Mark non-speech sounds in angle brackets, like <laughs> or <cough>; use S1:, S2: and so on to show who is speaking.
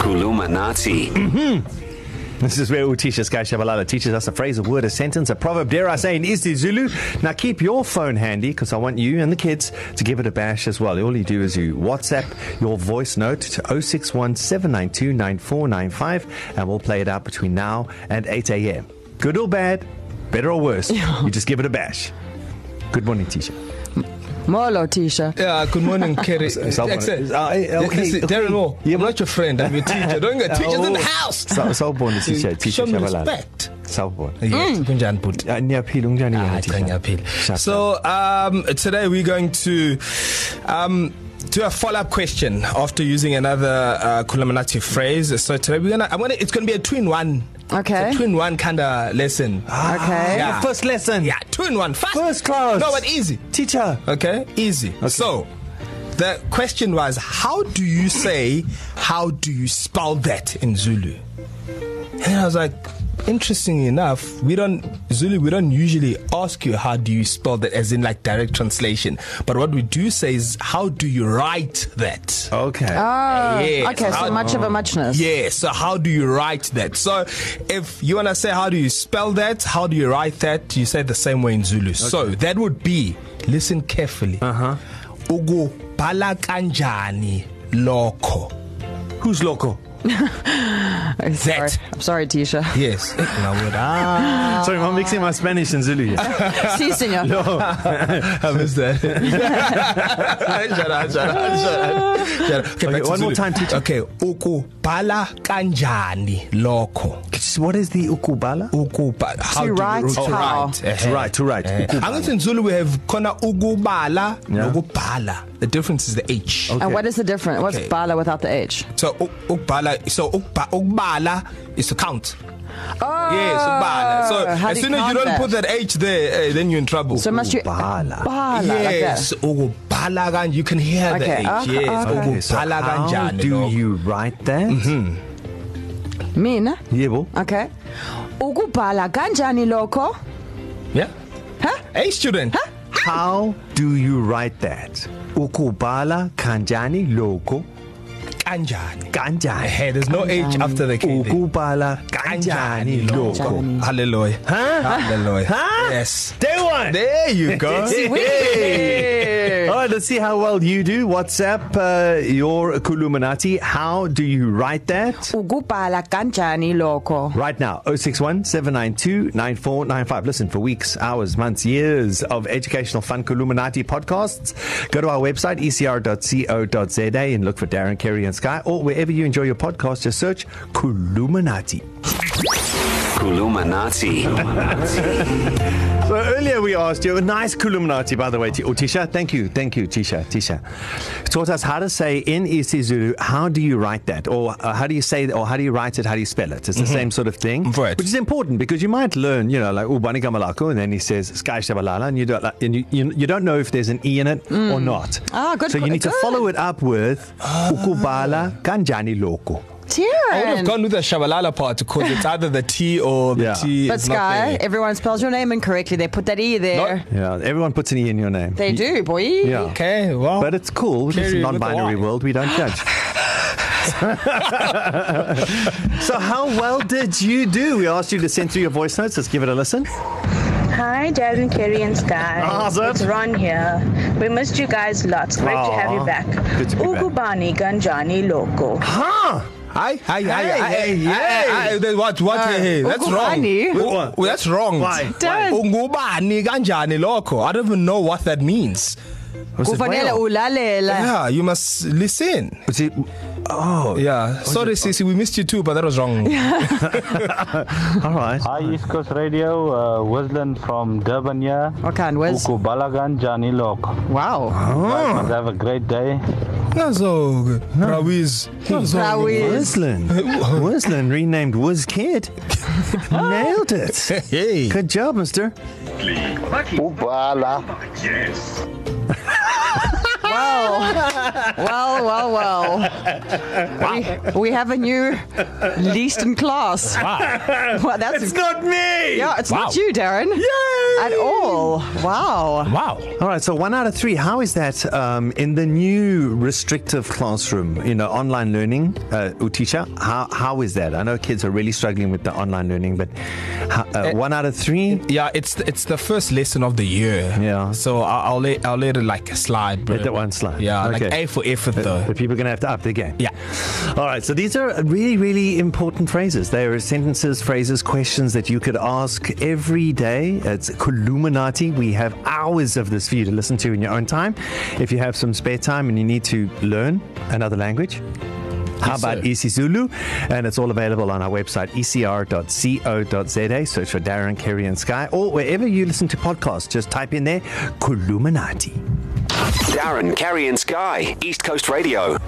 S1: Kulumanati.
S2: This is where Utisha Skyshabalala teaches us a phrase, a word, a sentence, a proverb, dare I say, in isiZulu. Now keep your phone handy because I want you and the kids to give it a bash as well. All you do is you WhatsApp your voice note to 061 792 9495 and we'll play it out between now and 8 a.m. Good or bad, better or
S3: <laughs>
S2: worse, you just give it a bash. Good morning, Tisha.
S4: Molo Tisha.
S3: Yeah, good
S2: <laughs>
S3: morning, Kerry.
S2: Someone-
S3: Jackson.
S2: Ah, eh, okay,
S3: uh, Listen,
S2: okay.
S3: Darren Moore,
S2: Yeah,
S3: I'm
S2: but- Oh.
S3: not your friend. I'm
S2: <laughs>
S3: your teacher. Don't get teachers in the house. <laughs>
S2: So, sawubona Tisha,
S3: Show
S2: Tisha
S3: me
S2: Shabalala.
S3: respect. Mm.
S2: Sawubona.
S3: Yes, kunjani bhuti?
S2: Ah, Niyaphila unjani wena
S3: Ah, cha
S2: Tisha?
S3: ngiyaphila.
S2: Sharp,
S3: So, um today we're going to um do a follow-up question after using another uh, Kulamanati phrase. So today we're gonna, I'm gonna, it's gonna be a two-in-one.
S4: Okay.
S3: It's a two-in-one kind of lesson.
S4: Okay.
S3: Yeah.
S2: Your first lesson.
S3: Ah. Yeah, two-in-one. Fast.
S2: Ah. First class.
S3: No, but easy.
S2: Teacher.
S3: Okay, easy. Okay. So, the question was, how do you say, how do you spell that in Zulu? And I was like, interesting enough, we don't Zulu, we don't usually ask you how do you spell that, as in like direct translation. But what we do say is, how do you write that?
S2: Okay.
S4: Oh,
S3: Yes.
S4: okay, so
S3: How-
S4: much of a muchness.
S3: Yeah, so how do you write that? So if you want to say how do you spell that, how do you write that, you say it the same way in Zulu. Okay. So that would be listen carefully. Uh-huh. Ugu bala kanjani lokho.
S2: Who's local?
S4: I'm sorry.
S3: That.
S4: I'm sorry,
S3: <laughs>
S4: Tisha.
S3: Yes. Now would ah
S2: Uh, Sorry, I'm mixing my Spanish and Zulu here. <laughs>
S4: See, senor. No.
S3: I missed that. <laughs> shut up, shut up, shut up. Shut up. Okay, back
S2: one
S3: to
S2: more
S3: Zulu.
S2: time, teacher.
S3: Okay, ugu bala kanjani lokho.
S2: What is the ukubala?
S3: ukuba how do
S4: write
S3: you,
S4: how.
S3: eh,
S2: To write, to write.
S3: eh.
S2: Ukubhala.
S3: angithi in Zulu we have khona ukubala
S2: Yeah. Oh.
S3: nokubhala the difference is the h
S2: Okay.
S4: And what is the difference? What's
S3: Okay.
S4: bala without the H?
S3: so u- ukubhala so ukubha- ukubala is to count
S4: Oh,
S3: yes ukubhala so
S4: how do
S3: as soon as you
S4: count
S3: don't put that h there uh, then you're in trouble
S4: So must you
S2: Ukubhala.
S4: Bala
S3: yes
S4: like
S3: ukubhala kan you can hear the
S4: Okay,
S3: h
S4: okay,
S3: yes
S4: okay.
S2: so
S3: ukubhala
S2: how
S3: kanjani
S2: do
S3: lokho.
S2: you write that? Mm-hmm.
S4: that. Mina?
S2: Yebo.
S4: Okay. Ukubhala kanjani lokho?
S3: yeah
S4: Huh?
S3: hey student huh?
S2: How do you write that? Ukubala kanjani loko
S3: kanjani Eh,
S2: kanjani.
S3: hey there's no h after the k there.
S2: Ukubala kanjani loko.
S4: Kanjani.
S3: hallelujah
S2: Huh?
S3: hallelujah
S2: Huh?
S3: yes
S2: Day one.
S3: There you go.
S2: Hey. All right, let's see how well you do. WhatsApp uh, your Kuluminati. How do you write that?
S4: Ukubhala kanjani lokho?
S2: Right now, 061 792 9495. Listen for weeks, hours, months, years of educational fun Illuminati podcasts. Go to our website, E ecr.co.za, and look for Darren, Kerry, and Sky, or wherever you enjoy your podcast, just search Illuminati.
S1: Kulumanati.
S2: So earlier we asked you, a nice Illuminati, by the way, T- oh, Tisha. Thank you, thank you, Tisha. Tisha taught us how to say in isiZulu, how do you write that? Or uh, how do you say, or how do you write it, how do you spell it? It's the mm-hmm. same sort of thing.
S3: Right.
S2: Which is important because you might learn, you know, like Ubani Gamalako, and then he says Sky Shabalala, and you don't like, and you, you, you don't know if there's an E in it mm. or not.
S4: Ah, good
S2: So you
S4: qu-
S2: need to
S4: good. Ah.
S2: follow it up with Ukubala Kanjani Loko.
S3: I would
S4: Taryn.
S3: have gone with the Shabalala part because it's either the T or the
S2: Yeah.
S3: yeah. T.
S4: But
S3: is not
S4: Sky,
S3: there.
S4: everyone spells your name incorrectly. They put that E there.
S3: Not-
S2: Yeah, everyone puts an E in your name.
S4: They do, boy.
S2: Yeah.
S3: Okay, well.
S2: But it's cool. It's a
S3: Carry with
S2: non binary
S3: the Y.
S2: world. We don't <laughs> judge. so, how well did you do? We asked you to send through your voice notes. Let's give it a listen.
S5: Hi, Darren, Kerry, and Sky.
S2: Awesome.
S5: It's Ron here. We missed you guys lots. Great Aww. to have
S2: Aw.
S5: you back.
S2: Good to be back.
S5: Ugubani Ganjani Loco.
S2: Huh?
S3: Hi, hi, hi,
S2: Hey,
S3: hi,
S2: hey,
S3: hi, hi,
S2: hey.
S3: hi, hi, What, what? Uh, hey, that's wrong.
S4: Ungubani?
S3: Ungubani. Oh, that's wrong.
S2: Why?
S4: Why?
S3: Ungubani kanjani lokho? I don't even know what that means.
S2: Was it
S4: Kufanele
S2: whale?
S4: ulalela.
S3: Yeah, you must listen.
S2: Was it, oh, yeah.
S3: Yeah. Sorry, Sisi, we missed you too, but that was wrong.
S2: all right.
S6: Hi, East Coast Radio. Uh, Wislan from Durban here.
S4: Okay, and Wiz.
S6: Ukubalagan Johnny Locke.
S4: Wow.
S6: Oh. Have a great day.
S3: Nazo. Rawiz.
S4: Rawiz.
S2: Wisland. Wisland renamed Wiz Kid. Nailed it.
S3: Hey.
S2: Good job, mister.
S7: Ubala.
S4: Wow. Well, well, well. We, we have a new least in class.
S1: Wow.
S4: Well, that's
S2: It's not me!
S4: yeah, it's
S1: Wow.
S4: not you, Darren.
S2: Yay!
S4: At all. Wow.
S1: Wow.
S2: All right, so one out of three. How is that um, in the new restrictive classroom? You know, online learning, uh, Utisha. How how is that? I know kids are really struggling with the online learning, but how, uh, one out of three.
S3: Yeah, it's it's the first lesson of the year.
S2: Yeah.
S3: So I'll, I'll let I'll let it like slide, bro.
S2: Let that one slide.
S3: Yeah, okay. like
S2: Okay.
S3: A for effort though.
S2: The people are going to have to up their game.
S3: Yeah.
S2: All right. So these are really, really important phrases. They are sentences, phrases, questions that you could ask every day. It's Columinati. We have hours of this for you to listen to in your own time. If you have some spare time and you need to learn another language, how about
S3: sir.
S2: ECZulu? And it's all available on our website, E ecr.co.za. Search for Darren, Kerry, and Sky, or wherever you listen to podcasts, just type in there, Columinati.
S7: Darren, Carrie, and Sky, East Coast Radio.